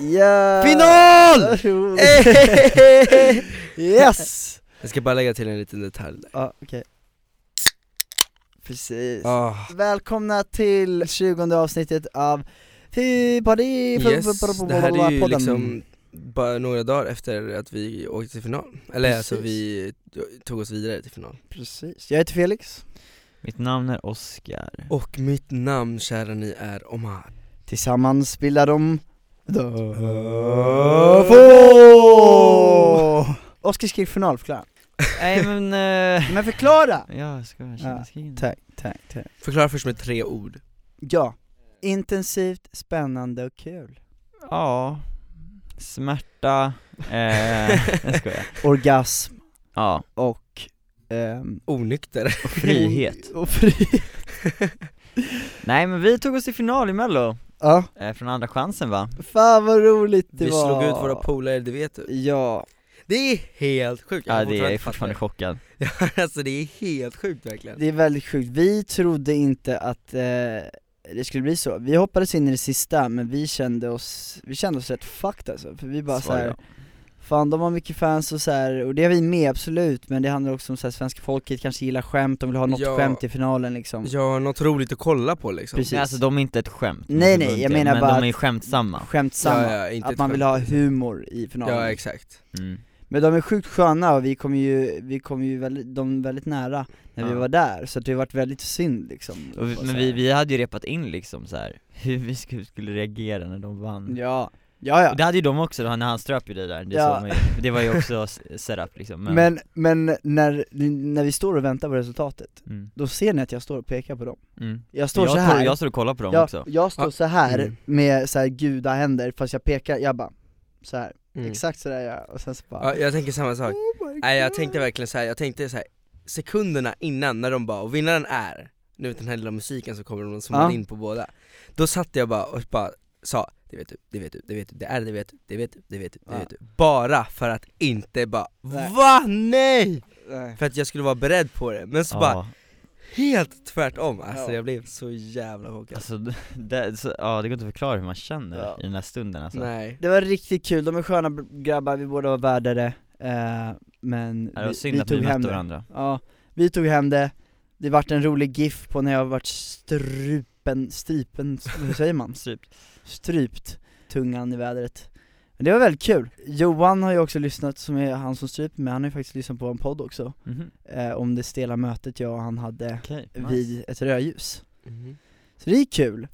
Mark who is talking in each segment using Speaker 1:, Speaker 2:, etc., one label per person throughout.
Speaker 1: Yeah.
Speaker 2: Final!
Speaker 1: yes!
Speaker 2: Jag ska bara lägga till en liten detalj där.
Speaker 1: Ja, okej Precis
Speaker 2: Ah,
Speaker 1: Välkomna till 20 avsnittet av Hypadi
Speaker 2: yes, det här är ju liksom bara några dagar efter att vi åkte till final. Eller alltså
Speaker 1: Precis.
Speaker 2: vi tog oss vidare till final.
Speaker 1: Precis, jag heter Felix
Speaker 3: Mitt namn är Oscar.
Speaker 2: Och mitt namn kära ni är Omar.
Speaker 1: Tillsammans bildar de Oskar skrev finalförklara
Speaker 3: Nej men, eh,
Speaker 1: Men förklara!
Speaker 3: ja jag ska
Speaker 1: Ja,
Speaker 3: känna skriven.
Speaker 1: Tack, tack, tack
Speaker 2: Förklara först med tre ord.
Speaker 1: Ja, intensivt, spännande och kul
Speaker 3: Ja, smärta, eh, jag skojar.
Speaker 1: Orgasm
Speaker 3: Ja,
Speaker 1: och ehm,
Speaker 2: Onykter.
Speaker 3: och frihet.
Speaker 1: Och frihet
Speaker 3: Nej men vi tog oss till final i mello,
Speaker 1: Ja,
Speaker 3: eh, från andra chansen va?
Speaker 1: fan vad roligt det
Speaker 2: Vi
Speaker 1: var
Speaker 2: slog ut våra polare, det vet du.
Speaker 1: Ja,
Speaker 2: Det är helt sjukt.
Speaker 3: Ja
Speaker 2: har
Speaker 3: det är jag
Speaker 2: inte
Speaker 3: fortfarande
Speaker 2: fattat
Speaker 3: chockad.
Speaker 2: det. Alltså det är helt sjukt verkligen.
Speaker 1: det är väldigt sjukt, vi trodde inte att eh, det skulle bli så, vi hoppades in i det sista men vi kände oss, vi kände oss rätt fucked alltså, för vi bara
Speaker 3: Svar
Speaker 1: såhär,
Speaker 3: ja.
Speaker 1: fan de har mycket fans och så här, och det är vi med absolut, men det handlar också om så här, svenska folket kanske gillar skämt, de vill ha något
Speaker 2: Ja.
Speaker 1: skämt i finalen liksom
Speaker 2: Ja, något roligt att kolla på liksom.
Speaker 1: Precis.
Speaker 3: Nej, alltså de är inte ett skämt.
Speaker 1: Nej, nej,
Speaker 3: förbundet,
Speaker 1: jag menar
Speaker 3: men
Speaker 1: bara
Speaker 3: de är ju
Speaker 1: att-
Speaker 3: skämtsamma.
Speaker 1: Skämtsamma,
Speaker 2: Ja, ja, inte
Speaker 1: att
Speaker 2: ett
Speaker 1: man vill
Speaker 2: skämt.
Speaker 1: ha humor i finalen
Speaker 2: Ja, exakt.
Speaker 3: Mm.
Speaker 1: Men de är sjukt sköna och vi kom ju, vi kom ju väldigt, de väldigt nära när vi
Speaker 3: Ja.
Speaker 1: var där, så att det har varit väldigt synd liksom
Speaker 3: Och vi,
Speaker 1: Och
Speaker 3: men
Speaker 1: så
Speaker 3: vi,
Speaker 1: här.
Speaker 3: vi hade ju repat in liksom så här hur vi skulle, skulle reagera när de vann.
Speaker 1: Ja, ja ja
Speaker 3: Det hade ju de också, när han ströp ju dig där, det,
Speaker 1: Ja.
Speaker 3: såg man ju, det var ju också s- setup liksom men,
Speaker 1: Men, men när, när vi står och väntar på resultatet,
Speaker 3: mm,
Speaker 1: då ser ni att jag står och pekar på dem
Speaker 3: mm.
Speaker 1: Jag står
Speaker 3: Jag,
Speaker 1: så
Speaker 3: står,
Speaker 1: här
Speaker 3: jag står och kollar på dem också
Speaker 1: jag, jag står
Speaker 2: Ah,
Speaker 1: så här
Speaker 2: mm.
Speaker 1: med så här gudahänder, fast jag pekar, jag bara så här.
Speaker 2: Mm.
Speaker 1: exakt så där gör jag, och sen så bara
Speaker 2: Ja, jag tänker samma sak.
Speaker 1: oh my
Speaker 2: Nej jag
Speaker 1: God.
Speaker 2: tänkte verkligen så här. jag tänkte så här. sekunderna innan när de bara, och vinnaren är, nu vet den här lilla musiken så kommer de som
Speaker 1: Ja.
Speaker 2: in på båda Då satt jag bara och bara sa, det vet du, det vet du, det vet du, det är det, det vet du, det vet du, det vet du, det
Speaker 1: Ja.
Speaker 2: vet du Bara för att inte bara,
Speaker 1: Nej.
Speaker 2: VA NEJ!
Speaker 1: Nej.
Speaker 2: För att jag skulle vara beredd på det, men så bara
Speaker 3: Ja,
Speaker 2: helt tvärtom, alltså
Speaker 1: Ja.
Speaker 2: jag blev så jävla chockad
Speaker 3: alltså, d- det, så, ja, det går inte att förklara hur man känner
Speaker 1: Ja.
Speaker 3: i den här stunden alltså
Speaker 2: Nej
Speaker 1: Det var riktigt kul, de är sköna b- grabbar, vi båda var värdare, eh, men
Speaker 3: Ja, Det var
Speaker 1: vi,
Speaker 3: synd
Speaker 1: vi
Speaker 3: att vi
Speaker 1: tog
Speaker 3: mötte
Speaker 1: hem det
Speaker 3: varandra
Speaker 1: Ja, vi tog hem det, det vart en rolig GIF på när jag vart strupen, stripen, hur säger man?
Speaker 3: Strypt.
Speaker 1: Strypt tungan i vädret Men det var väldigt kul, Johan har ju också lyssnat, som är han som stryper mig, han har ju faktiskt lyssnat på en podd också
Speaker 3: Mhm.
Speaker 1: eh, Om det stela mötet jag och han hade
Speaker 3: Okej, nice.
Speaker 1: vid ett rödljus Så det är kul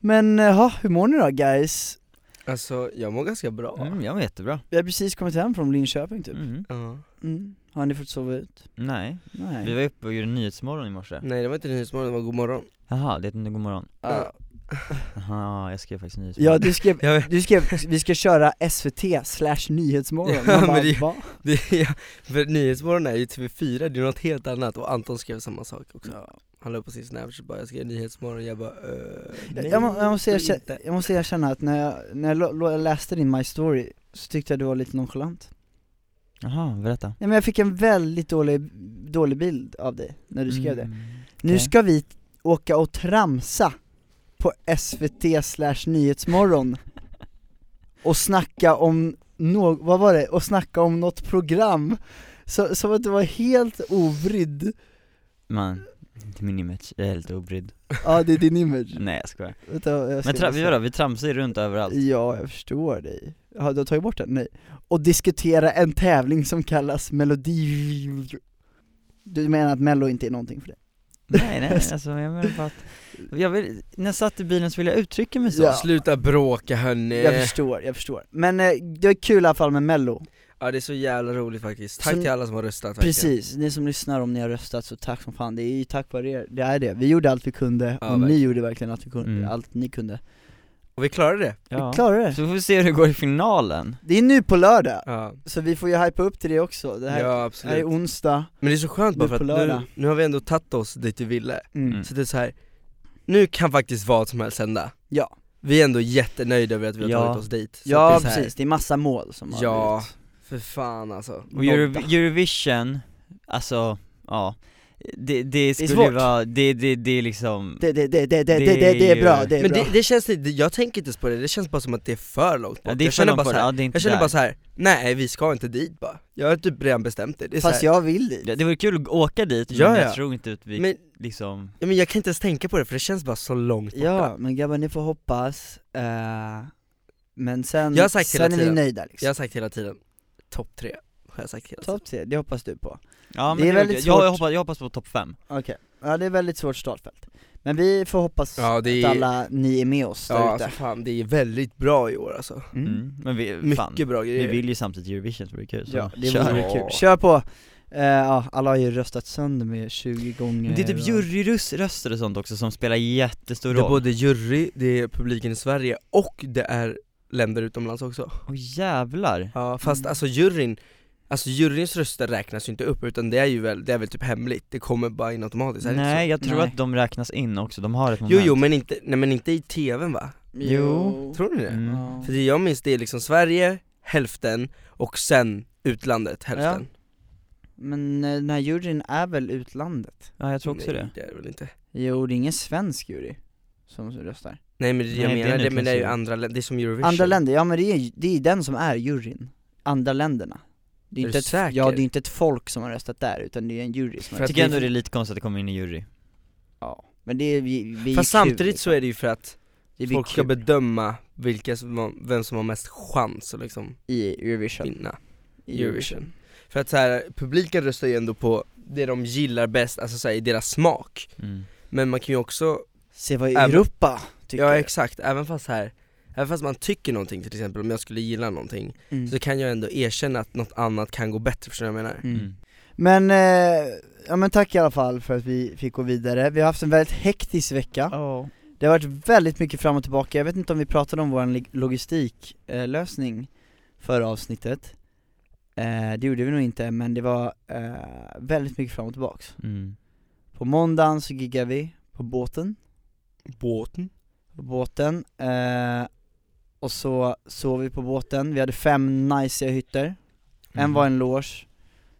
Speaker 1: Men eh, ja, hur mår ni då guys?
Speaker 2: Alltså jag mår ganska bra
Speaker 3: mm, jag mår jättebra
Speaker 1: Vi har precis kommit hem från Linköping typ
Speaker 3: mm.
Speaker 2: Ja.
Speaker 1: mm. Har ni fått sova ut?
Speaker 3: Nej,
Speaker 1: Nej Mm.
Speaker 3: vi var uppe och gjorde nyhetsmorgon i morse
Speaker 2: Nej det var inte Nyhetsmorgon, det var Godmorgon
Speaker 3: Jaha, det är inte god morgon.
Speaker 1: Ja.
Speaker 3: Jaha, jag skrev faktiskt nyhetsmorgon
Speaker 1: Ja du skrev,
Speaker 2: Jag vet-
Speaker 1: du skrev, vi ska köra SVT slash nyhetsmorgon,
Speaker 2: Ja,
Speaker 1: Man bara,
Speaker 2: men det-
Speaker 1: "Va?"
Speaker 2: Det, ja, för Nyhetsmorgon är ju TV4, det är något helt annat och Anton skrev samma sak också Han la upp på sin snapchat bara 'jag skrev Nyhetsmorgon' jag bara eh, nej,
Speaker 1: jag, må, jag, måste
Speaker 2: det är
Speaker 1: erkänna,
Speaker 2: inte."
Speaker 1: jag måste erkänna att när jag, när jag lo- lo- läste din My Story så tyckte jag du var lite nonchalant
Speaker 3: Jaha, berätta
Speaker 1: Nej men jag fick en väldigt dålig, dålig bild av dig när du skrev det
Speaker 3: Mm,
Speaker 1: Nu
Speaker 3: okej.
Speaker 1: ska vi t- åka och tramsa på SVT slash nyhetsmorgon och snacka om nå vad var det? Och snacka om något program så, som att du var helt ovrydd,
Speaker 3: Man, inte min image, jag är helt obrydd
Speaker 1: ja det är din image
Speaker 3: Nej jag skojar
Speaker 1: Vänta, jag ska
Speaker 3: Men tra-
Speaker 1: bara se.
Speaker 3: vi, vadå, vi tramsar ju runt överallt
Speaker 1: Ja, jag förstår dig. Har du tagit bort den? Nej. Och diskutera en tävling som kallas melodi... Du menar att mello inte är någonting för dig?
Speaker 3: Nej nej, alltså jag menar bara att, jag vill, när jag satt i bilen så ville jag uttrycka mig så
Speaker 1: Ja.
Speaker 2: Sluta bråka hörni!
Speaker 1: Jag förstår, jag förstår. Men eh, det är kul i alla fall med mello.
Speaker 2: Ja det är så jävla roligt faktiskt, tack
Speaker 1: Så-
Speaker 2: till alla som har röstat verkligen.
Speaker 1: Precis, ni som lyssnar om ni har röstat så tack som fan, det är ju tack vare er, det är det. Vi gjorde allt vi kunde
Speaker 2: Ja,
Speaker 1: och ni
Speaker 2: verkligen.
Speaker 1: gjorde verkligen allt, vi kunde,
Speaker 4: Mm.
Speaker 1: allt ni kunde.
Speaker 2: Och vi klarade det!
Speaker 4: Ja.
Speaker 1: Vi klarade det!
Speaker 4: Så får vi se hur det går i finalen
Speaker 1: Det är nu på lördag,
Speaker 2: Ja,
Speaker 1: så vi får ju hypa upp till det också. Det här,
Speaker 2: ja
Speaker 1: det här är
Speaker 2: absolut
Speaker 1: onsdag,
Speaker 2: Men det är så skönt bara
Speaker 1: Nu
Speaker 2: för
Speaker 1: på
Speaker 2: att
Speaker 1: lördag.
Speaker 2: nu, nu har vi ändå tagit oss dit vi ville,
Speaker 1: mm.
Speaker 4: Mm.
Speaker 2: så det är så här. nu kan faktiskt vad som helst hända
Speaker 1: Ja.
Speaker 2: Vi är ändå jättenöjda över att vi har
Speaker 4: Ja.
Speaker 2: tagit oss dit så
Speaker 1: Ja
Speaker 2: att det är så här,
Speaker 1: precis, det är massa mål som har
Speaker 2: Ja,
Speaker 1: blivit
Speaker 2: för fan alltså
Speaker 4: Och
Speaker 1: nådda.
Speaker 4: Euro- Eurovision, alltså, ja Det, det skulle
Speaker 1: svårt.
Speaker 4: ju vara, det, det, det är liksom
Speaker 1: det, det, det, det, det,
Speaker 4: Det
Speaker 1: det, det, det
Speaker 4: är
Speaker 1: är
Speaker 4: ju-
Speaker 1: bra, det är
Speaker 2: Men
Speaker 1: bra.
Speaker 2: det, det känns lite, jag tänker inte ens på det, det känns bara som att det är för långt bort
Speaker 4: Ja, det är
Speaker 2: Jag
Speaker 4: för
Speaker 2: känner
Speaker 4: långt
Speaker 2: bara
Speaker 4: bort,
Speaker 2: så här,
Speaker 4: ja, det är inte
Speaker 2: jag känner
Speaker 4: där.
Speaker 2: bara så här. nej vi ska inte dit bara Jag har typ redan bestämt det, det är
Speaker 1: Fast
Speaker 2: så här,
Speaker 1: jag vill dit.
Speaker 4: Det, det vore kul att åka dit, men
Speaker 2: Ja, ja.
Speaker 4: jag tror inte att vi
Speaker 2: men,
Speaker 4: liksom
Speaker 2: ja, men jag kan inte ens tänka på det för det känns bara så långt borta
Speaker 1: Ja, men grabbar ni får hoppas, eh, men sen,
Speaker 2: Jag har sagt hela
Speaker 1: sen är ni
Speaker 2: tiden.
Speaker 1: nöjda liksom.
Speaker 2: Jag har sagt hela tiden, topp tre har jag sagt hela tiden
Speaker 1: Topp tre, det hoppas du på.
Speaker 4: Ja
Speaker 1: Det är väldigt
Speaker 4: jag, jag,
Speaker 1: svårt.
Speaker 4: hoppas, jag hoppas på topp 5
Speaker 1: Okej, ja det är väldigt svårt startfält. Men vi får hoppas
Speaker 2: Ja det
Speaker 1: att
Speaker 2: är,
Speaker 1: alla ni är med oss
Speaker 2: ja
Speaker 1: där
Speaker 2: alltså
Speaker 1: ute.
Speaker 2: fan det är väldigt bra i år alltså
Speaker 1: Mm.
Speaker 4: mm. Men vi,
Speaker 2: Mycket
Speaker 4: fan,
Speaker 2: bra
Speaker 4: vi
Speaker 2: grejer
Speaker 4: vill ju samtidigt Eurovision, så det blir kul så
Speaker 1: Ja, det
Speaker 4: kör.
Speaker 1: vore
Speaker 2: Ja.
Speaker 1: kul. Kör på! Eh, ja, alla har ju röstat sönder med 20 gånger
Speaker 4: Men det är typ
Speaker 1: och-
Speaker 4: juryröster och sånt också som spelar jättestor
Speaker 2: Det är
Speaker 4: roll
Speaker 2: både jury, det är publiken i Sverige och det är länder utomlands också
Speaker 4: Åh jävlar
Speaker 2: Ja fast
Speaker 1: Mm.
Speaker 2: alltså juryn, alltså juryns röster räknas ju inte upp utan det är ju väl, det är väl typ hemligt, det kommer bara in automatiskt, är det
Speaker 4: Nej
Speaker 2: inte
Speaker 4: jag tror
Speaker 1: Nej.
Speaker 4: att de räknas in också, de har ett
Speaker 2: så?
Speaker 4: moment
Speaker 2: Jo jo men inte, nej men inte i tvn va?
Speaker 4: Jo.
Speaker 2: Tror ni det?
Speaker 4: Mm.
Speaker 1: Ja.
Speaker 2: För det jag minns det är liksom Sverige, hälften, och sen utlandet, hälften
Speaker 1: Men eh, den här juryn är väl utlandet?
Speaker 4: Ja jag tror också
Speaker 2: nej,
Speaker 4: det
Speaker 2: det är det väl inte
Speaker 1: Jo, det är ingen svensk jury som röstar.
Speaker 2: Nej men det jag
Speaker 4: Nej, det är
Speaker 2: menar det, men det är ju
Speaker 4: utlandsjury.
Speaker 2: andra länder, det är som Eurovision
Speaker 1: Andra länder, ja men det är ju det är den som är juryn. Andra länderna. Det
Speaker 2: Är
Speaker 1: är,
Speaker 2: du
Speaker 1: inte ett,
Speaker 2: säker?
Speaker 1: ja, det är inte ett folk som har röstat där, utan det är en jury som har
Speaker 2: För
Speaker 4: Jag
Speaker 2: att
Speaker 1: röstat.
Speaker 4: tycker
Speaker 2: vi-
Speaker 4: ändå det är lite konstigt att det kommer in i jury
Speaker 1: Ja. Men det är, vi, vi
Speaker 2: Fast samtidigt så är det ju för att
Speaker 1: det blir
Speaker 2: folk ska
Speaker 1: kul
Speaker 2: bedöma vilka som, har- vem som har mest chans att liksom
Speaker 1: i Eurovision.
Speaker 2: vinna
Speaker 1: I
Speaker 2: Eurovision. För att så här, publiken röstar ju ändå på det de gillar bäst, alltså så här, i deras smak
Speaker 4: mm.
Speaker 2: Men man kan ju också,
Speaker 1: Se vad
Speaker 2: Även-
Speaker 1: Europa tycker.
Speaker 2: ja exakt, även fast här Även fast man tycker någonting till exempel, om jag skulle gilla någonting,
Speaker 1: Mm.
Speaker 2: så kan jag ändå erkänna att något annat kan gå bättre, förstår du vad jag menar?
Speaker 1: Mm.
Speaker 4: Mm.
Speaker 1: Men, eh, ja men tack i alla fall för att vi fick gå vidare. Vi har haft en väldigt hektisk vecka. Det har varit väldigt mycket fram och tillbaka, jag vet inte om vi pratade om vår logistiklösning förra avsnittet eh, Det gjorde vi nog inte, men det var eh, väldigt mycket fram och tillbaks
Speaker 4: Mm.
Speaker 1: På måndagen så giggade vi på båten,
Speaker 2: Båten?
Speaker 1: på båten eh, Och så sov vi på båten, vi hade fem najsiga hytter En var en loge,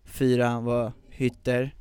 Speaker 1: fyra var hytter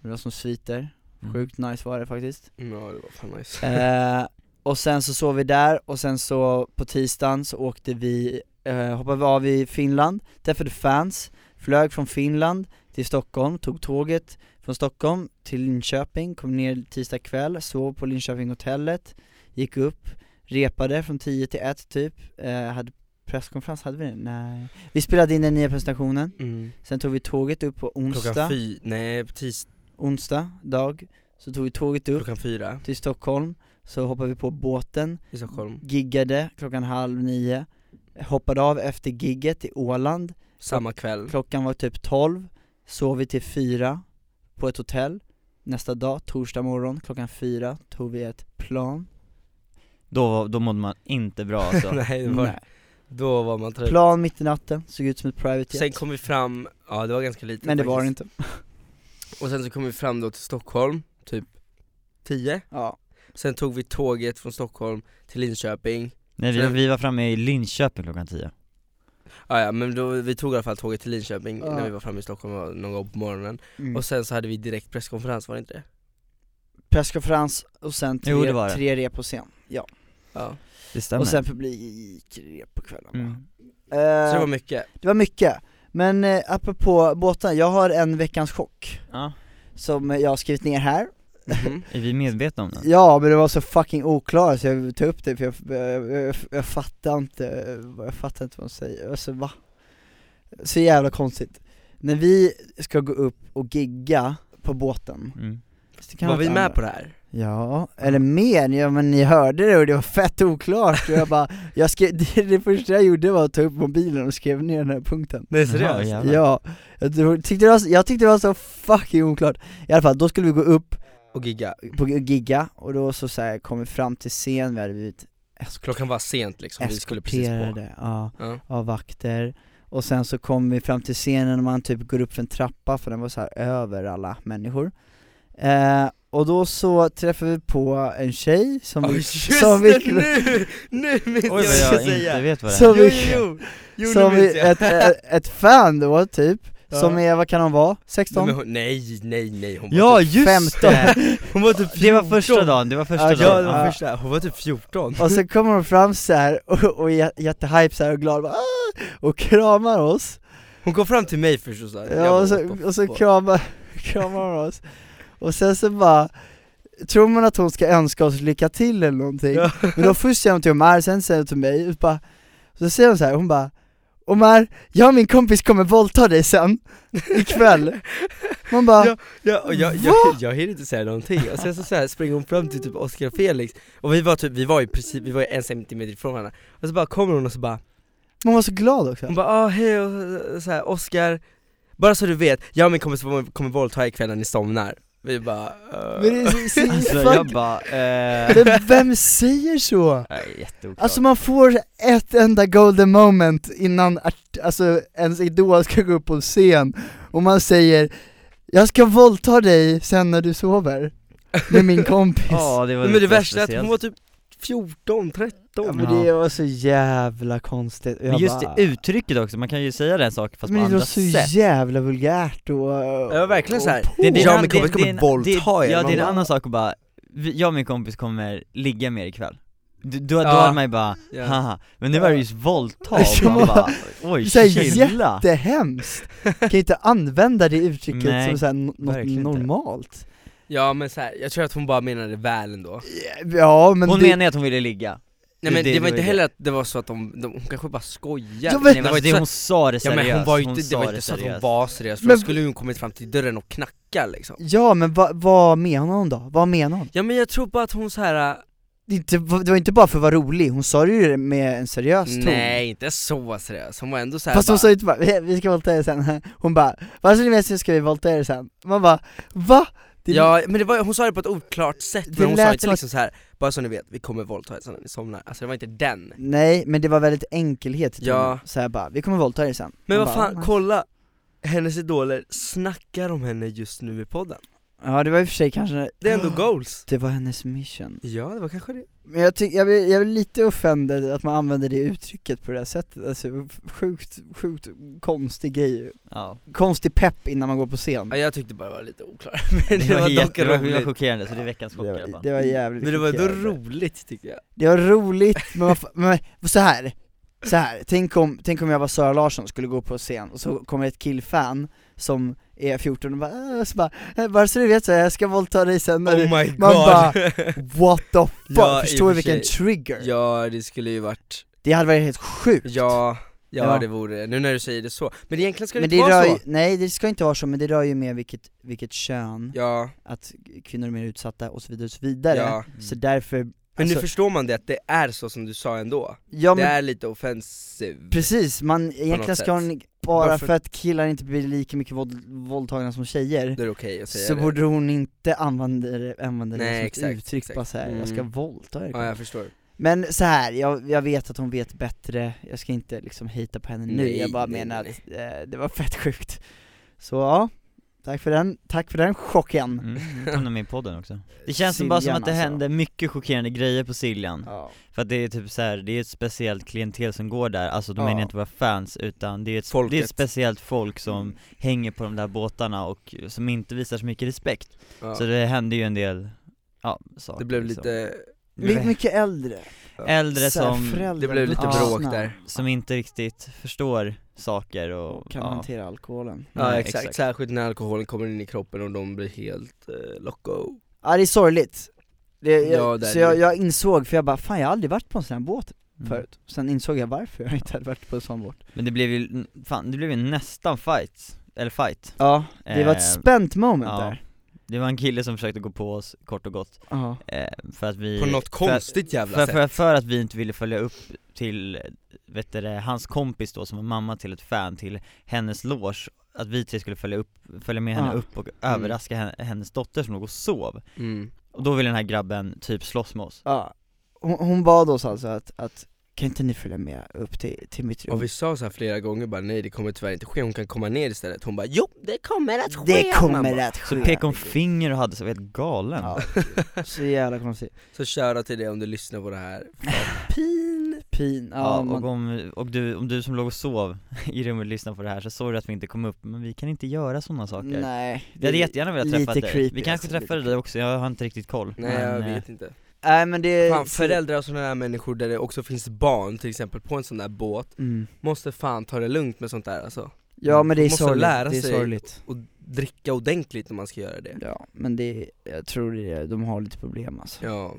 Speaker 1: Det var som sviter,
Speaker 4: Mm.
Speaker 1: sjukt nice var det faktiskt
Speaker 2: Ja det var fan nice
Speaker 1: Eh, och sen så sov vi där och sen så på tisdagen så åkte vi, eh, hoppade vi av i Finland, träffade fans, flög från Finland till Stockholm, tog tåget från Stockholm till Linköping, kom ner tisdag kväll, sov på Linköping hotellet, gick upp, repade från 10 till 1 typ, eh, hade presskonferens, hade vi det? Nej. Vi spelade in den nya presentationen,
Speaker 2: mm.
Speaker 1: sen tog vi tåget upp på
Speaker 2: Klockan
Speaker 1: onsdag,
Speaker 2: fyra, nej tis,
Speaker 1: onsdag dag, så tog vi tåget upp
Speaker 2: klockan fyra
Speaker 1: till Stockholm, så hoppade vi på båten,
Speaker 2: i Stockholm
Speaker 1: Mm. giggade klockan halv nio, hoppade av efter gigget i Åland,
Speaker 2: Samma kväll,
Speaker 1: klockan var typ tolv, sov vi till fyra på ett hotell, nästa dag, torsdag morgon, klockan fyra, tog vi ett plan.
Speaker 4: Då, var- då mådde man inte bra alltså
Speaker 2: nej, det var,
Speaker 1: Nej.
Speaker 2: då var man trött
Speaker 1: Plan mitt i natten, såg ut som ett private
Speaker 2: Typ. Sen
Speaker 1: jet.
Speaker 2: kom vi fram, ja det var ganska lite
Speaker 1: Men det var det
Speaker 2: faktiskt.
Speaker 1: inte.
Speaker 2: Och sen så kom vi fram då till Stockholm, typ 10
Speaker 1: Ja.
Speaker 2: Sen tog vi tåget från Stockholm till Linköping
Speaker 4: Nej vi, vi var framme i Linköping klockan 10
Speaker 2: ah, ja men då, vi tog i alla fall tåget till Linköping
Speaker 1: Ja.
Speaker 2: när vi var framme i Stockholm och någon gång på morgonen
Speaker 1: Mm.
Speaker 2: Och sen så hade vi direkt presskonferens, var det inte det?
Speaker 1: Presskonferens och sen tre,
Speaker 4: Jo, det var det.
Speaker 1: tre rep på scen. Ja.
Speaker 2: Ja,
Speaker 4: Det stämmer
Speaker 1: Och sen publikrep på kvällen.
Speaker 4: mm.
Speaker 1: Eh,
Speaker 2: så det var mycket
Speaker 1: det var mycket. Men eh, apropå båtar, jag har en veckans chock
Speaker 4: ja.
Speaker 1: som jag har skrivit ner här.
Speaker 2: Mhm.
Speaker 4: Är vi medvetna om det?
Speaker 1: Ja men det var så fucking oklar så jag vill ta upp det för jag, jag, jag, jag fattar inte, jag fattar inte vad de säger, alltså va? Så jävla konstigt. När vi ska gå upp och gigga på båten,
Speaker 4: Mm.
Speaker 1: så
Speaker 2: Var vi med på det här?
Speaker 1: Ja, eller mer, ja men ni hörde det och det var fett oklart och jag bara, jag skrev, det, det första jag gjorde var att ta upp mobilen och skrev ner den här punkten
Speaker 2: Nej
Speaker 4: Jaha,
Speaker 2: seriöst?
Speaker 4: jävlar.
Speaker 1: Ja, jag tror- tyckte det var, så- jag tyckte det var så fucking oklart I alla fall, då skulle vi gå upp
Speaker 2: Och gigga,
Speaker 1: på gigga och då så, så här, kom vi fram till scen, vi hade blivit
Speaker 2: klockan var sent liksom, vi skulle precis på
Speaker 1: eskorterade ja,
Speaker 2: Ja.
Speaker 1: av vakter och sen så kom vi fram till scenen och man typ går upp för en trappa för den var så här över alla människor eh, Och då så träffade vi på en tjej som
Speaker 2: Oj
Speaker 1: vi,
Speaker 2: just
Speaker 1: som
Speaker 2: det,
Speaker 1: vi-
Speaker 2: nu! Nu
Speaker 4: Oj
Speaker 2: minns jag
Speaker 4: vad
Speaker 2: vad jag ska
Speaker 4: jag inte
Speaker 2: säga!
Speaker 4: vet vad det är
Speaker 1: som
Speaker 2: Jo,
Speaker 1: vi,
Speaker 2: jo, jo! jo
Speaker 1: som
Speaker 2: nu minns
Speaker 1: vi,
Speaker 2: jag!
Speaker 1: ett, ett, ett fan då typ,
Speaker 2: Ja.
Speaker 1: som är, vad kan hon vara? 16?
Speaker 2: Nej, men hon- nej, nej, nej, hon var
Speaker 4: Ja
Speaker 2: typ,
Speaker 4: just det!
Speaker 2: hon var typ 14.
Speaker 4: Det var första dagen, det var första
Speaker 1: Ja,
Speaker 2: Ja,
Speaker 4: dagen
Speaker 2: det var
Speaker 1: Ja.
Speaker 2: första, hon var typ 14
Speaker 1: Och så kommer hon fram så här och, och är jättehype så här och glad bara, "Ah!" och kramar oss,
Speaker 2: Hon kom fram till mig först och sa jag
Speaker 1: ja, och
Speaker 2: bara,
Speaker 1: så, och så
Speaker 2: "What the
Speaker 1: kramar, kramar hon oss Och sen så bara, tror man att hon ska önska oss lycka till eller någonting?
Speaker 2: Ja.
Speaker 1: Men då först säger hon till Omar, sen säger hon till mig, och bara, så säger hon så här, hon bara Omar, jag och min kompis kommer våldta dig sen, ikväll Man bara,
Speaker 2: Ja, ja, och jag, jag, jag, hinner inte säga någonting, och sen så, så här springer hon fram till typ Oscar och Felix Och vi var typ, vi var ju precis, vi var ju en centimeter ifrån varandra Och så bara kommer hon och så bara,
Speaker 1: man var så glad också
Speaker 2: hon bara ah hej och så här, Oscar Bara så du vet, jag och min kompis kommer, kommer våldta er ikväll när ni somnar Vi bara eh,
Speaker 1: Men det är så,
Speaker 4: Alltså
Speaker 1: fuck,
Speaker 4: jag bara, eh,
Speaker 1: men vem säger så?
Speaker 4: nej, jätteoklart
Speaker 1: Alltså man får ett enda golden moment innan art- alltså, ens idol ska gå upp på scen och man säger 'Jag ska våldta dig sen när du sover' med min kompis
Speaker 4: Ja det var
Speaker 2: Men
Speaker 4: lite
Speaker 2: det värsta är att hon
Speaker 4: speciellt.
Speaker 2: var typ 14, 13
Speaker 1: Ja, men det var så jävla konstigt Och jag
Speaker 4: Men just
Speaker 1: bara, alltså,
Speaker 4: det uttrycket också, man kan ju säga den saken fast på
Speaker 1: Men det
Speaker 4: andra
Speaker 1: låter så
Speaker 4: sätt
Speaker 1: jävla vulgärt och...
Speaker 2: Ja verkligen såhär,
Speaker 4: Det- det är en
Speaker 2: jag och
Speaker 4: annan-
Speaker 2: min kompis
Speaker 4: det- det är
Speaker 2: kommer
Speaker 4: en-
Speaker 2: våldta
Speaker 4: det-
Speaker 2: er
Speaker 4: Ja det är en
Speaker 2: Man
Speaker 4: annan sak att bara, vi- jag och min kompis kommer ligga mer ikväll Du- då, då
Speaker 2: Ja.
Speaker 4: hade man ju bara,
Speaker 2: bara, ja.
Speaker 4: haha, men nu var det ju våldta och
Speaker 1: Ja.
Speaker 4: man bara, oj
Speaker 1: Så här
Speaker 4: chilla
Speaker 1: Det är hemskt! Kan ju inte använda det uttrycket
Speaker 4: Nej,
Speaker 1: som såhär, n- något
Speaker 4: verkligen inte.
Speaker 1: normalt
Speaker 2: ja men såhär, jag tror att hon bara menade väl ändå
Speaker 1: Ja men
Speaker 4: Hon
Speaker 1: det...
Speaker 4: menar ju att hon ville ligga
Speaker 2: Nej men det,
Speaker 4: Det-
Speaker 2: var
Speaker 4: det
Speaker 2: inte
Speaker 4: var ju
Speaker 2: heller att det var så att de, de hon kanske bara skojade
Speaker 1: Ja, men-
Speaker 4: Nej
Speaker 2: det
Speaker 4: men
Speaker 2: var
Speaker 4: alltså,
Speaker 2: inte
Speaker 4: det,
Speaker 2: så-
Speaker 4: hon sa det
Speaker 2: Ja
Speaker 4: seriöst,
Speaker 2: men hon var ju inte, det
Speaker 4: sa
Speaker 2: var inte så att hon
Speaker 4: seriöst.
Speaker 2: var seriös, för
Speaker 1: Men-
Speaker 2: då skulle hon kommit fram till dörren och knacka liksom
Speaker 1: Ja men vad- vad menar hon då? Vad menar hon?
Speaker 2: Ja men jag tror bara att hon så här.
Speaker 1: Det, inte, det var inte bara för att vara rolig, hon sa det ju med en seriös ton
Speaker 2: nej inte så seriös, hon var ändå så här.
Speaker 1: Fast
Speaker 2: bara,
Speaker 1: hon sa ju inte bara 'Vi- 'vi ska våldta er sen' Hon bara 'bara så ni vet så ska vi våldta er sen' Man bara 'va?' Det,
Speaker 2: Ja men det var, hon sa det på ett oklart sätt,
Speaker 1: Det
Speaker 2: men hon sa
Speaker 1: lät
Speaker 2: inte
Speaker 1: som
Speaker 2: liksom så här. bara så ni vet, vi kommer våldta er sen när ni somnar, alltså det var inte den
Speaker 1: Nej, men det var väldigt enkelhet i
Speaker 2: Ja.
Speaker 1: tonen. så här bara 'vi kommer våldta er sen'
Speaker 2: Men
Speaker 1: Man
Speaker 2: vad
Speaker 1: bara,
Speaker 2: fan,
Speaker 1: "Nej."
Speaker 2: kolla hennes idoler snackar om henne just nu i podden
Speaker 1: Ja det var i och för sig kanske,
Speaker 2: Det är ändå goals
Speaker 1: det var hennes mission
Speaker 2: Ja det var kanske det
Speaker 1: Men jag tycker, jag blir, jag blir lite offended att man använder det uttrycket på det här sättet, alltså sjukt, sjukt konstig grej
Speaker 4: Ja,
Speaker 1: Konstig pepp innan man går på scen
Speaker 2: ja, jag tyckte bara det var lite oklart,
Speaker 4: det
Speaker 2: men det, var
Speaker 4: jätte-
Speaker 2: dock
Speaker 4: det var- det var
Speaker 2: roligt
Speaker 4: chockerande, så det är veckans chock i alla
Speaker 1: det, var,
Speaker 4: fall.
Speaker 1: det var jävligt
Speaker 2: Men det var ändå
Speaker 1: chockerande.
Speaker 2: roligt tycker jag
Speaker 1: Det var roligt, men, man, fa- men så här, så här. Tänk, om, tänk om jag var Sara Larsson och skulle gå på scen och så kommer ett killfan som är 14 och bara, äh, så bara, "Eh, bara så du vet så här, jag ska våldta dig sen när du...
Speaker 2: Oh my god!
Speaker 1: man bara- What the fuck?
Speaker 2: Ja, i
Speaker 1: Förstår du
Speaker 2: och för
Speaker 1: vilken
Speaker 2: sig.
Speaker 1: trigger?
Speaker 2: Ja det skulle ju varit,
Speaker 1: Det hade varit helt sjukt
Speaker 2: ja, ja,
Speaker 1: Ja.
Speaker 2: det vore det. nu när du säger det så Men egentligen ska det
Speaker 1: Men
Speaker 2: inte
Speaker 1: det rör
Speaker 2: vara
Speaker 1: ju,
Speaker 2: så
Speaker 1: nej det ska inte vara så, men det rör ju mer vilket, vilket kön,
Speaker 2: Ja,
Speaker 1: att kvinnor är mer utsatta och så vidare och så vidare
Speaker 2: ja
Speaker 1: Så därför,
Speaker 2: Men nu
Speaker 1: alltså,
Speaker 2: förstår man det, att det är så som du sa ändå
Speaker 1: ja, men
Speaker 2: Det är lite offensiv
Speaker 1: Precis, man egentligen
Speaker 2: något
Speaker 1: ska
Speaker 2: sätt.
Speaker 1: hon, bara
Speaker 2: Varför-
Speaker 1: för att killar inte blir lika mycket våld, våldtagna som tjejer
Speaker 2: Då är det okej att säga
Speaker 1: Så
Speaker 2: det
Speaker 1: borde hon inte använda det, använda det
Speaker 2: Nej,
Speaker 1: som
Speaker 2: exakt,
Speaker 1: ett uttryck
Speaker 2: exakt.
Speaker 1: bara såhär, jag ska
Speaker 2: Mm.
Speaker 1: våldta er
Speaker 2: Ja jag förstår
Speaker 1: Men så här, jag, jag vet att hon vet bättre, jag ska inte liksom hita på henne nu,
Speaker 2: Nej,
Speaker 1: jag bara
Speaker 2: nej,
Speaker 1: menar
Speaker 2: nej.
Speaker 1: att eh, det var fett sjukt Så ja, tack för den, tack för den chocken
Speaker 4: Mm, nu kom de med i podden också Det känns som bara som
Speaker 1: Siljan,
Speaker 4: att det
Speaker 1: alltså.
Speaker 4: händer mycket chockerande grejer på Siljan
Speaker 1: ja.
Speaker 4: För att det är typ så här, det är ett speciellt klientel som går där, alltså de
Speaker 1: Ja.
Speaker 4: menar inte våra fans utan det är, ett, det är
Speaker 2: Folket. Mm.
Speaker 4: ett speciellt folk som hänger på de där båtarna och som inte visar så mycket respekt
Speaker 2: ja.
Speaker 4: Så det hände ju en del, ja, saker
Speaker 2: Det blev
Speaker 4: liksom.
Speaker 2: lite,
Speaker 1: My, mycket äldre,
Speaker 4: Äldre
Speaker 1: Så här,
Speaker 4: som,
Speaker 1: föräldrar
Speaker 2: det blev lite
Speaker 1: vuxna
Speaker 2: bråk där
Speaker 4: som inte riktigt förstår saker och,
Speaker 1: och kan
Speaker 4: ja.
Speaker 1: hantera alkoholen
Speaker 2: Ja
Speaker 4: Nej,
Speaker 2: exakt. särskilt när alkoholen kommer in i kroppen och de blir helt eh, loco
Speaker 1: Ja det är sorgligt det,
Speaker 2: Ja,
Speaker 1: jag,
Speaker 2: det är
Speaker 1: Så
Speaker 2: det.
Speaker 1: jag, jag insåg, för jag bara 'fan jag har aldrig varit på en sån här båt
Speaker 4: Mm.
Speaker 1: förut' Sen insåg jag varför jag inte hade varit på en sån båt
Speaker 4: Men det blev ju, fan det blev ju nästan fight, eller fight
Speaker 1: Ja, det var ett
Speaker 4: Eh,
Speaker 1: spänt moment
Speaker 4: ja.
Speaker 1: där
Speaker 3: Det var en kille som försökte gå på oss, kort och gott,
Speaker 1: Ja.
Speaker 3: eh, för att vi
Speaker 2: På något konstigt jävla
Speaker 3: för,
Speaker 2: sätt
Speaker 3: för, för att vi inte ville följa upp till, vet du, det, hans kompis då som var mamma till ett fan till hennes loge Att vi tre skulle följa, upp, följa med henne
Speaker 1: Ah.
Speaker 3: upp och överraska henne, hennes dotter som låg och sov
Speaker 2: mm.
Speaker 3: Och då ville den här grabben typ slåss med oss
Speaker 1: Ja. Hon, hon bad oss alltså att, att kan inte ni följa med upp till, till mitt rum?
Speaker 2: Och vi sa så här flera gånger bara nej det kommer tyvärr inte ske, hon kan komma ner istället Hon bara jo det kommer att ske
Speaker 1: det kommer
Speaker 2: mamma."
Speaker 1: att ske!
Speaker 3: Så pekade hon finger och hade sig, helt galen
Speaker 1: Ja. Så jävla konstigt.
Speaker 2: Så köra till det om du lyssnar på det här Pin
Speaker 1: Pin, ja,
Speaker 3: Ja,
Speaker 1: man,
Speaker 3: och om, och du, om du som låg och sov i rummet lyssnade på det här så sorry att vi inte kom upp, men vi kan inte göra sådana saker
Speaker 1: nej.
Speaker 3: Vi hade jättegärna velat
Speaker 1: lite
Speaker 3: träffa dig,
Speaker 1: creepy
Speaker 3: vi kanske
Speaker 1: alltså, lite
Speaker 3: träffade dig
Speaker 1: creepy.
Speaker 3: också, jag har inte riktigt koll
Speaker 2: Nej Eh,
Speaker 3: men,
Speaker 2: jag
Speaker 3: eh,
Speaker 2: vet inte
Speaker 1: Nej men det...
Speaker 2: Fan föräldrar och sådana här människor där det också finns barn till exempel på en sån där båt
Speaker 1: Mm.
Speaker 2: Måste fan ta det lugnt med sånt där alltså
Speaker 1: Ja men det är
Speaker 2: Måste
Speaker 1: sorgligt,
Speaker 2: lära
Speaker 1: det är
Speaker 2: sig.
Speaker 1: sorgligt.
Speaker 2: Och dricka ordentligt när man ska göra det
Speaker 1: Ja, men det, jag tror det, är- de har lite problem alltså.
Speaker 2: Ja,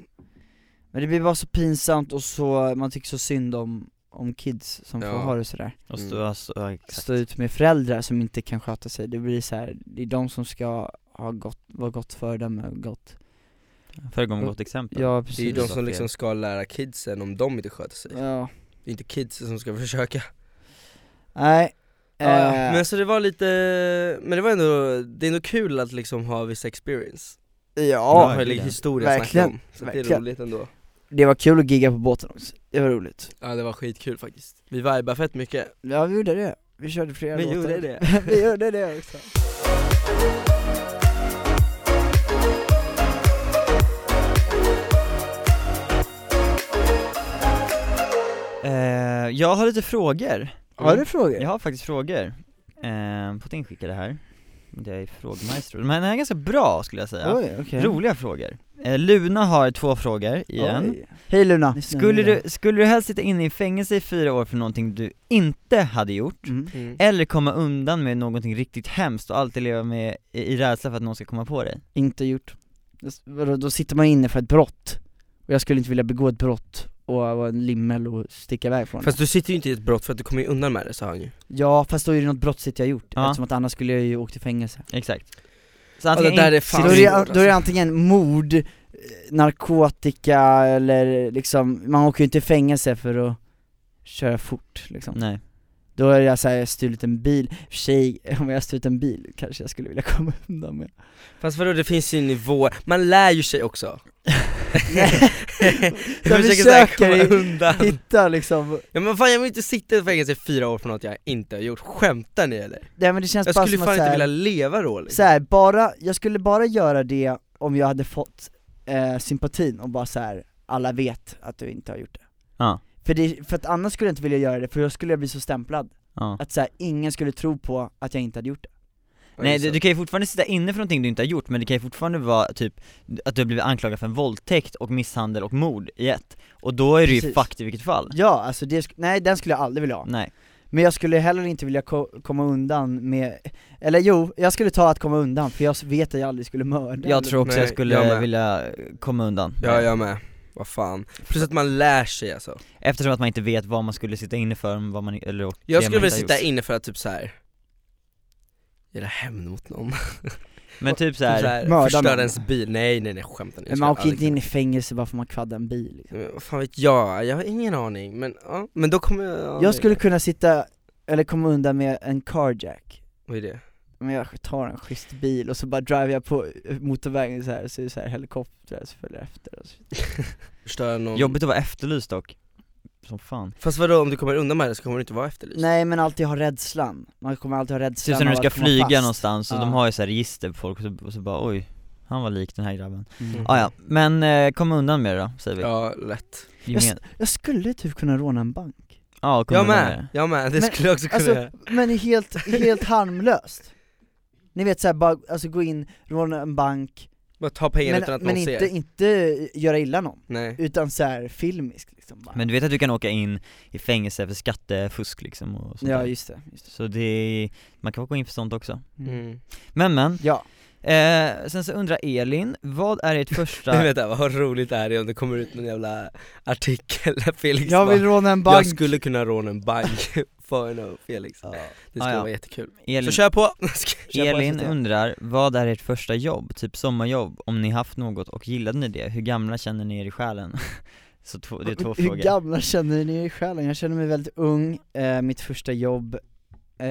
Speaker 1: Men det blir bara så pinsamt och så, man tycker så synd om, om kids som får
Speaker 2: Ja.
Speaker 1: ha det sådär.
Speaker 3: och
Speaker 2: Mm.
Speaker 3: stå, alltså, ja, exakt.
Speaker 1: Stå ut med föräldrar som inte kan sköta sig, det blir så här, det är de som ska ha gott, vara gott föredöme och gott.
Speaker 3: föregå med gott exempel
Speaker 1: Ja
Speaker 2: det är ju
Speaker 1: precis.
Speaker 2: de
Speaker 3: Precis.
Speaker 2: som liksom ska lära kidsen om de inte sköter sig
Speaker 1: Ja,
Speaker 2: Det är inte kidsen som ska försöka
Speaker 1: nej.
Speaker 2: Ja,
Speaker 1: eh,
Speaker 2: Men så alltså, det var lite, men det var ändå, det är ändå kul att liksom ha vissa experience
Speaker 1: ja,
Speaker 2: Eller
Speaker 3: verkligen.
Speaker 2: historia att snacka
Speaker 1: Verkligen.
Speaker 2: om, så det är
Speaker 1: Verkligen.
Speaker 2: roligt ändå
Speaker 1: det var kul att gigga på båten också, det var roligt.
Speaker 2: Ja det var skitkul faktiskt, vi vibade fett mycket
Speaker 1: Ja vi gjorde det, vi körde flera
Speaker 2: Vi
Speaker 1: låtar.
Speaker 2: gjorde det.
Speaker 1: vi gjorde det också.
Speaker 3: Eh, jag har lite frågor.
Speaker 1: Har du frågor?
Speaker 3: Jag har faktiskt frågor. Eh, Putin skickade här. Det är frågmaestro. Men den här är ganska bra skulle jag säga.
Speaker 1: Oj, okej.
Speaker 3: Roliga frågor. Eh, Luna har två frågor igen.
Speaker 1: Oj. Hej Luna!
Speaker 3: Skulle du, skulle du helst sitta inne i fängelse i fyra år för någonting du inte hade gjort?
Speaker 1: Mm.
Speaker 2: mm.
Speaker 3: Eller komma undan med någonting riktigt hemskt och alltid leva med i i rädsla för att någon ska komma på dig?
Speaker 1: Inte gjort. Vadå, då sitter man inne för ett brott. Och jag skulle inte vilja begå ett brott och vara en limmel och sticka iväg från
Speaker 2: Fast du sitter ju inte i ett brott för att du kommer ju undan med det sa han ju
Speaker 1: det. Ja, fast då är det något brottsligt jag gjort.
Speaker 3: Ja.
Speaker 1: Eftersom att annars skulle jag ju åkt i fängelse.
Speaker 3: Exakt. Så
Speaker 2: Ja, det där
Speaker 3: in-
Speaker 2: är
Speaker 1: Så
Speaker 2: fan
Speaker 1: då, är
Speaker 2: svårt, alltså.
Speaker 1: det, då är det antingen mord, eh, narkotika eller liksom, man åker ju inte i fängelse för att köra fort liksom.
Speaker 3: Nej.
Speaker 1: Då har jag så här, stulit en bil, I och för sig, om jag har stulit en bil kanske jag skulle vilja komma undan med
Speaker 2: Fast vadå det finns ju nivåer, man lär ju sig också
Speaker 1: Jag
Speaker 2: så här
Speaker 1: försöker
Speaker 2: komma undan
Speaker 1: Hitta liksom,
Speaker 2: Ja men fan jag vill inte sitta i fängelse i fyra år för något jag inte har gjort, skämtar ni eller?
Speaker 1: nej men det känns
Speaker 2: Jag
Speaker 1: bara
Speaker 2: skulle
Speaker 1: som
Speaker 2: fan
Speaker 1: att så
Speaker 2: inte
Speaker 1: här,
Speaker 2: vilja leva då liksom.
Speaker 1: så här, bara, jag skulle bara göra det om jag hade fått eh, sympatin och bara så här, alla vet att du inte har gjort det
Speaker 3: Ja.
Speaker 1: För, det, för att annars skulle jag inte vilja göra det, för då skulle jag bli så stämplad,
Speaker 3: Ja.
Speaker 1: att så här, ingen skulle tro på att jag inte hade gjort det
Speaker 2: Ja,
Speaker 3: Nej
Speaker 2: just
Speaker 3: du,
Speaker 2: det.
Speaker 3: du kan ju fortfarande sitta inne för någonting du inte har gjort, men det kan ju fortfarande vara typ att du har blivit anklagad för en våldtäkt och misshandel och mord i ett, och då är du ju
Speaker 1: Precis.
Speaker 3: fucked i vilket fall
Speaker 1: Ja, alltså det, sk- nej den skulle jag aldrig vilja ha
Speaker 3: Nej,
Speaker 1: Men jag skulle heller inte vilja ko- komma undan med, eller jo, jag skulle ta att komma undan för jag vet att jag aldrig skulle mörda
Speaker 3: jag tror också
Speaker 2: Nej,
Speaker 3: jag skulle
Speaker 2: jag med.
Speaker 3: vilja komma undan
Speaker 2: Ja jag med, vad fan. Plus att man lär sig alltså.
Speaker 3: Eftersom att man inte vet vad man skulle sitta inne för, vad man, eller och
Speaker 2: Jag
Speaker 3: det
Speaker 2: skulle
Speaker 3: man
Speaker 2: vilja
Speaker 3: inte har
Speaker 2: sitta
Speaker 3: gjort.
Speaker 2: inne för att typ så här. Göra hämn mot någon, typ
Speaker 3: Men typ
Speaker 2: så
Speaker 3: såhär,
Speaker 2: här,
Speaker 1: Mörda
Speaker 2: förstöra
Speaker 1: någon.
Speaker 2: ens bil, nej nej nej skämtar ni?
Speaker 1: Men man åker inte in i fängelse bara för man kvaddar en bil liksom.
Speaker 2: Vad fan vet jag, jag har ingen aning, men ja, men då kommer jag ja,
Speaker 1: Jag skulle kunna sitta, eller komma undan med en carjack
Speaker 2: Vad är det?
Speaker 1: men jag tar en schysst bil och så bara driver jag på motorvägen så här, så är det så här helikoptrar som följer efter och så.
Speaker 2: Förstöra någon
Speaker 3: jobbigt att vara efterlyst dock Som fan Typ
Speaker 2: Fast vadå om du kommer undan med det så kommer du inte vara efterlyst?
Speaker 1: Nej men alltid ha rädslan, man kommer alltid ha rädslan
Speaker 3: Typ som när du
Speaker 1: av
Speaker 3: ska
Speaker 1: att komma
Speaker 3: flyga
Speaker 1: fast.
Speaker 3: någonstans och de
Speaker 1: Ja.
Speaker 3: har ju såhär register på folk och så, och så bara oj, han var lik den här grabben
Speaker 2: Mm.
Speaker 3: ah, ja, men eh, kom undan med det då, säger vi
Speaker 2: Ja, lätt
Speaker 3: Gemen-
Speaker 1: s- Jag skulle typ kunna råna en bank
Speaker 3: Ja, kom
Speaker 2: Jag
Speaker 3: undan med
Speaker 2: med,
Speaker 3: det
Speaker 2: jag med, det
Speaker 1: Men,
Speaker 2: skulle jag också kunna
Speaker 1: Alltså,
Speaker 2: göra
Speaker 1: men helt, helt harmlöst Ni vet såhär bara, alltså gå in, råna en bank,
Speaker 2: Bara ta pengarna utan
Speaker 1: men,
Speaker 2: att
Speaker 1: men
Speaker 2: någon
Speaker 1: inte,
Speaker 2: ser
Speaker 1: inte göra illa någon,
Speaker 2: Nej
Speaker 1: utan såhär filmiskt liksom bara.
Speaker 3: Men du vet att du kan åka in i fängelse för skattefusk liksom och sånt
Speaker 1: Ja
Speaker 3: där.
Speaker 1: just det, just det.
Speaker 3: Så det, är- man kan gå in för sånt också
Speaker 2: mm.
Speaker 3: Men men,
Speaker 1: Ja,
Speaker 3: Eh, sen så undrar Elin, vad är ert
Speaker 2: Jag
Speaker 3: första...
Speaker 2: vet inte, vad roligt det här är om det kommer ut någon jävla artikel där Felix
Speaker 1: Jag vill
Speaker 2: bara,
Speaker 1: råna en
Speaker 2: Jag
Speaker 1: bank.
Speaker 2: skulle kunna råna en bank, Fan och Felix Det skulle
Speaker 3: Ah, ja.
Speaker 2: vara jättekul Så
Speaker 3: Elin,
Speaker 2: kör på! Kör på
Speaker 3: Elin
Speaker 2: SVT.
Speaker 3: undrar, vad är ert första jobb, typ sommarjobb, om ni haft något och gillade ni det? Hur gamla känner ni er i själen? så två, det är två
Speaker 1: Hur
Speaker 3: frågor.
Speaker 1: gamla känner ni er i själen? Jag känner mig väldigt ung, eh, mitt första jobb eh,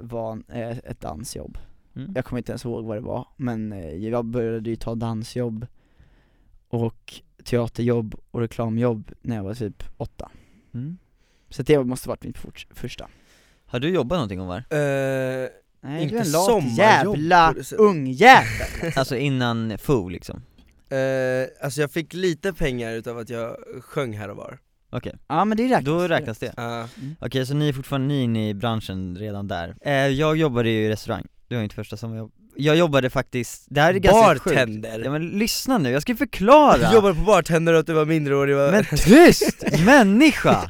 Speaker 1: var en- eh, ett dansjobb.
Speaker 3: Mm.
Speaker 1: Jag kommer inte ens ihåg vad det var, men eh, jag började ju ta dansjobb och teaterjobb och reklamjobb när jag var typ åtta.
Speaker 3: Mm.
Speaker 1: Så det måste varit mitt fort- första.
Speaker 3: Har du jobbat någonting Omar?
Speaker 2: Eh,
Speaker 1: Nej,
Speaker 2: Inte
Speaker 1: du är en lat
Speaker 2: sommarjobb
Speaker 1: jävla
Speaker 2: på det sättet.
Speaker 1: ungjävel!
Speaker 3: Alltså innan FO liksom?
Speaker 2: eh, alltså jag fick lite pengar utav att jag sjöng här och var
Speaker 3: Okej,
Speaker 1: Ja men det räknas
Speaker 3: då räknas det.
Speaker 2: Ah,
Speaker 3: Okej, så ni är fortfarande ni är inne i branschen redan där. Eh, jag jobbade ju i restaurang, det var mitt första sommarjobb. Jag jobbade faktiskt, det här är ganska sjukt. Ja
Speaker 2: Bartender!
Speaker 3: men lyssna nu, jag ska
Speaker 2: Du
Speaker 3: förklara!
Speaker 2: jobbade på bartender och att du var mindreårig var...
Speaker 3: Men tyst! Människa!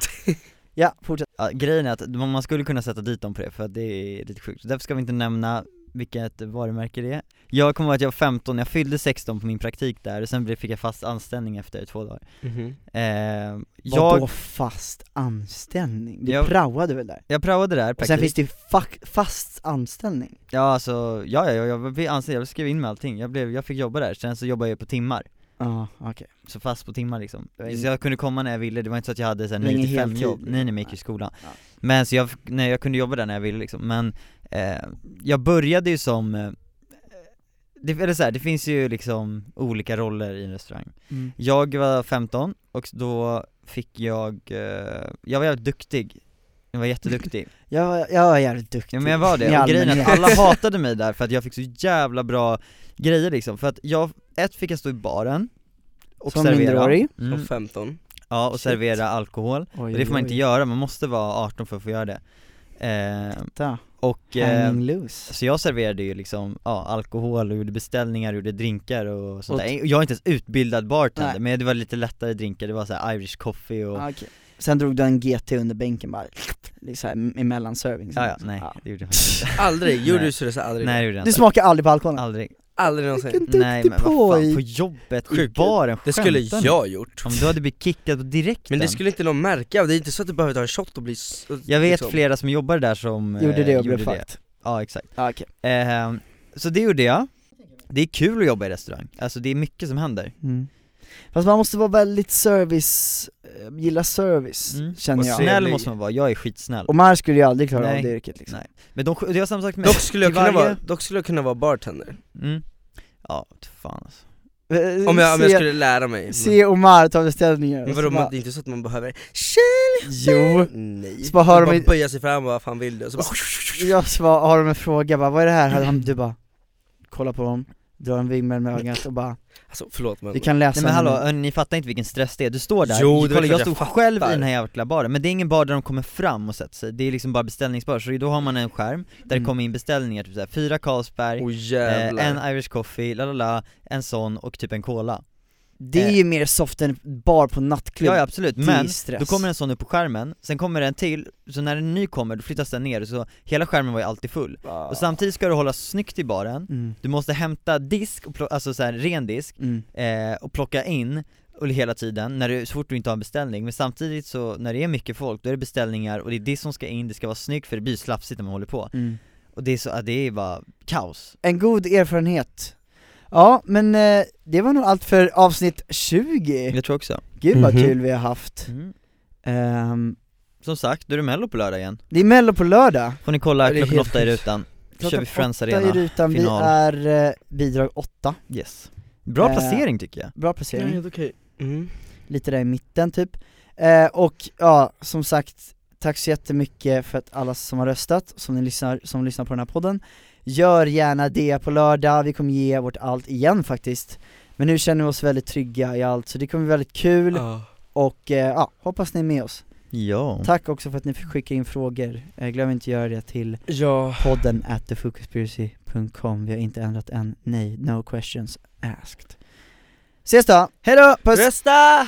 Speaker 1: Ja, fortsätt.
Speaker 3: Ja, grejen är att man man skulle kunna sätta dit dem på det för att det är lite sjukt, därför ska vi inte nämna vilket varumärke det är Jag kommer ihåg att jag var 15, jag fyllde 16 på min praktik där och sen blev- fick jag fast anställning efter två dagar
Speaker 2: Mhm.
Speaker 3: eh, jag,
Speaker 1: Vadå fast anställning? Du
Speaker 3: Jag-
Speaker 1: praoade väl där?
Speaker 3: jag praoade där
Speaker 1: Och sen
Speaker 3: praktik,
Speaker 1: finns det ju fuck, fast anställning.
Speaker 3: ja alltså, ja, ja jag blev anställd, jag skrev in med allting, jag, blev, jag fick jobba där, sen så jobbade jag på timmar
Speaker 1: Ja, okej.
Speaker 3: så fast på timmar liksom.
Speaker 1: Det var ing-
Speaker 3: Så jag kunde komma när jag ville, det var inte så att jag hade såhär
Speaker 1: Det var
Speaker 3: 9
Speaker 1: ingen
Speaker 3: till 5
Speaker 1: heltid,
Speaker 3: jobb,
Speaker 1: liksom.
Speaker 3: nej nej men jag gick
Speaker 1: Nej.
Speaker 3: i skolan
Speaker 1: Ja.
Speaker 3: Men så jag, nej, jag kunde jobba där när jag ville liksom, men eh, jag började ju som, eh, det, eller så här, det finns ju liksom olika roller i en restaurang
Speaker 1: Mm.
Speaker 3: Jag var 15 och då fick jag, eh, jag var jävligt duktig jag var jätteduktig.
Speaker 1: Jag, var- jag var jävligt duktig.
Speaker 3: Ja men jag var
Speaker 1: I
Speaker 3: det, och grejen är att
Speaker 1: allmänhet.
Speaker 3: alla hatade mig där för att jag fick så jävla bra grejer liksom, för att jag, ett fick jag stå i baren och
Speaker 1: Som
Speaker 3: servera
Speaker 1: minderårig. Oh,
Speaker 3: Mm.
Speaker 2: Som 15
Speaker 3: Ja, och
Speaker 1: Shit.
Speaker 3: servera alkohol.
Speaker 1: Oj,
Speaker 3: Och det får man
Speaker 1: oj,
Speaker 3: inte
Speaker 1: oj.
Speaker 3: göra, man måste vara 18 för att få göra det. Eh,
Speaker 1: Ta,
Speaker 3: och, eh,
Speaker 1: Hanging loose.
Speaker 3: så jag serverade ju liksom, ja, alkohol och gjorde beställningar, gjorde drinkar och sånt där. Jag är inte ens utbildad bartender,
Speaker 1: Nej.
Speaker 3: men det var lite lättare drinkar, det var så här Irish coffee och
Speaker 1: Ah, okej. Sen drog du en GT under bänken bara, liksom här, emellan servings.
Speaker 3: Ja, ja, nej, det gjorde jag faktiskt inte.
Speaker 2: Aldrig, gjorde
Speaker 3: Nej.
Speaker 2: du sådär aldrig?
Speaker 3: Nej, det gjorde jag
Speaker 1: Du
Speaker 3: inte.
Speaker 1: smakar aldrig på alkoholen?
Speaker 3: Aldrig.
Speaker 2: Aldrig någonsin
Speaker 1: Vilken
Speaker 3: Nej,
Speaker 1: duktig
Speaker 3: men vad fan, på
Speaker 1: pojk!
Speaker 3: jobbet, i
Speaker 2: Sjukt.
Speaker 3: baren,
Speaker 2: Det skulle
Speaker 3: skämtar ni?
Speaker 2: jag gjort
Speaker 3: Om du hade blivit kickad på direkten.
Speaker 2: Men det skulle inte någon märka, det är inte så att du behöver ta en shot och bli s-
Speaker 3: Jag vet
Speaker 2: liksom.
Speaker 3: flera som jobbade där som eh,
Speaker 1: Gjorde det och blev
Speaker 3: gjorde det.
Speaker 1: fucked.
Speaker 3: Ja, exakt.
Speaker 1: Ah, okej.
Speaker 3: Ehm, så det gjorde jag. Det är kul att jobba i restaurang, alltså det är mycket som händer.
Speaker 1: Mm. Fast man måste vara väldigt service, eh, gilla service,
Speaker 3: Mm.
Speaker 1: känner
Speaker 2: Och
Speaker 1: jag.
Speaker 2: se-
Speaker 3: Snäll
Speaker 2: Trevlig.
Speaker 3: måste man vara, jag är skitsnäll.
Speaker 1: Och Mar skulle ju aldrig klara
Speaker 3: Nej.
Speaker 1: av det yrket liksom.
Speaker 3: Nej. Men de, det har samma sak med
Speaker 2: Dock skulle, jag
Speaker 3: i
Speaker 2: kunna
Speaker 3: varje-
Speaker 2: vara, dock skulle jag kunna vara bartender,
Speaker 3: Mm. Ja, vad fan alltså.
Speaker 1: Eh,
Speaker 2: om jag, om jag
Speaker 1: se,
Speaker 2: skulle lära mig
Speaker 1: se Omar ta beställningar och
Speaker 2: Men
Speaker 1: så
Speaker 2: vadå,
Speaker 1: bara,
Speaker 2: man, det är inte så att man behöver Kjell
Speaker 1: Jo!
Speaker 2: Nej,
Speaker 1: Så bara hör de
Speaker 2: bara
Speaker 1: i-
Speaker 2: böja sig fram och vad fan vill du? Och så bara,
Speaker 1: Jag svar, har de en fråga bara, vad är det här? Hade han- Du bara, kolla på dem, drar en vimmel med ögat och bara,
Speaker 2: alltså förlåt men
Speaker 1: du kan läsa
Speaker 3: Nej men hallå,
Speaker 1: menyn."
Speaker 3: hörni, ni fattar inte vilken stress det är, du står där,
Speaker 2: Jo, det är
Speaker 3: kolla,
Speaker 2: klart
Speaker 3: jag
Speaker 2: jag
Speaker 3: stod
Speaker 2: fattar.
Speaker 3: själv i den här jävla baren, men det är ingen bar där de kommer fram och sätter sig, det är liksom bara beställningsbar, så då har man en skärm där det
Speaker 1: Mm.
Speaker 3: kommer in beställningar, typ såhär, fyra Carlsberg,
Speaker 2: oh,
Speaker 3: eh,
Speaker 2: jävlar
Speaker 3: en Irish coffee, la la la, en sån och typ en cola
Speaker 1: Det är
Speaker 3: eh.
Speaker 1: ju mer soft än bar på nattklubb,
Speaker 3: Ja, ja absolut,
Speaker 1: det är
Speaker 3: men
Speaker 1: ju Typ stress
Speaker 3: Då kommer en sån upp på skärmen, sen kommer en till, så när en ny kommer då flyttas den ner, så hela skärmen var ju alltid full.
Speaker 1: Ja.
Speaker 3: Och samtidigt ska du hålla snyggt i baren,
Speaker 1: mm.
Speaker 3: du måste hämta disk, och plo- alltså så här, ren disk,
Speaker 1: Mm.
Speaker 3: eh, och plocka in och hela tiden, när du, så fort du inte har en beställning, men samtidigt så när det är mycket folk, då är det beställningar och det är det som ska in, det ska vara snyggt för det blir ju slafsigt när man håller på.
Speaker 1: Mm.
Speaker 3: Och det är så, ja, det är bara kaos.
Speaker 1: En god erfarenhet Ja, men eh, det var nog allt för avsnitt 20
Speaker 3: Jag tror också.
Speaker 1: Gud vad
Speaker 2: Mhm.
Speaker 1: kul vi har haft
Speaker 3: Mm.
Speaker 1: Ehm,
Speaker 3: Som sagt, då är det mello på lördag igen.
Speaker 1: Det är mello på lördag
Speaker 3: Får ni kolla
Speaker 2: Ja, det är
Speaker 3: klockan
Speaker 2: helt
Speaker 3: åtta i
Speaker 2: sjukt.
Speaker 3: rutan. Då kör
Speaker 1: Klockan
Speaker 3: vi Friends
Speaker 1: åtta i
Speaker 3: Arena.
Speaker 1: rutan, vi
Speaker 3: final.
Speaker 1: är eh, bidrag 8
Speaker 3: Yes. Bra
Speaker 1: Eh,
Speaker 3: placering tycker jag.
Speaker 1: Bra placering
Speaker 2: okej mm.
Speaker 1: lite där i mitten typ. Eh, och ja, som sagt, tack så jättemycket för att alla som har röstat, som ni lyssnar, som lyssnar på den här podden. Gör gärna det på lördag, vi kommer ge vårt allt igen faktiskt. Men nu känner vi oss väldigt trygga i allt, så det kommer bli väldigt kul
Speaker 2: Ja.
Speaker 1: och eh, ja, hoppas ni är med oss.
Speaker 3: Ja.
Speaker 1: Tack också för att ni fick skicka in frågor, eh, glöm inte att göra det till
Speaker 2: ja,
Speaker 1: podden at thefocuspiracy.com, vi har inte ändrat än, nej, no questions asked. Ses då! Hejdå! Puss!
Speaker 2: rösta!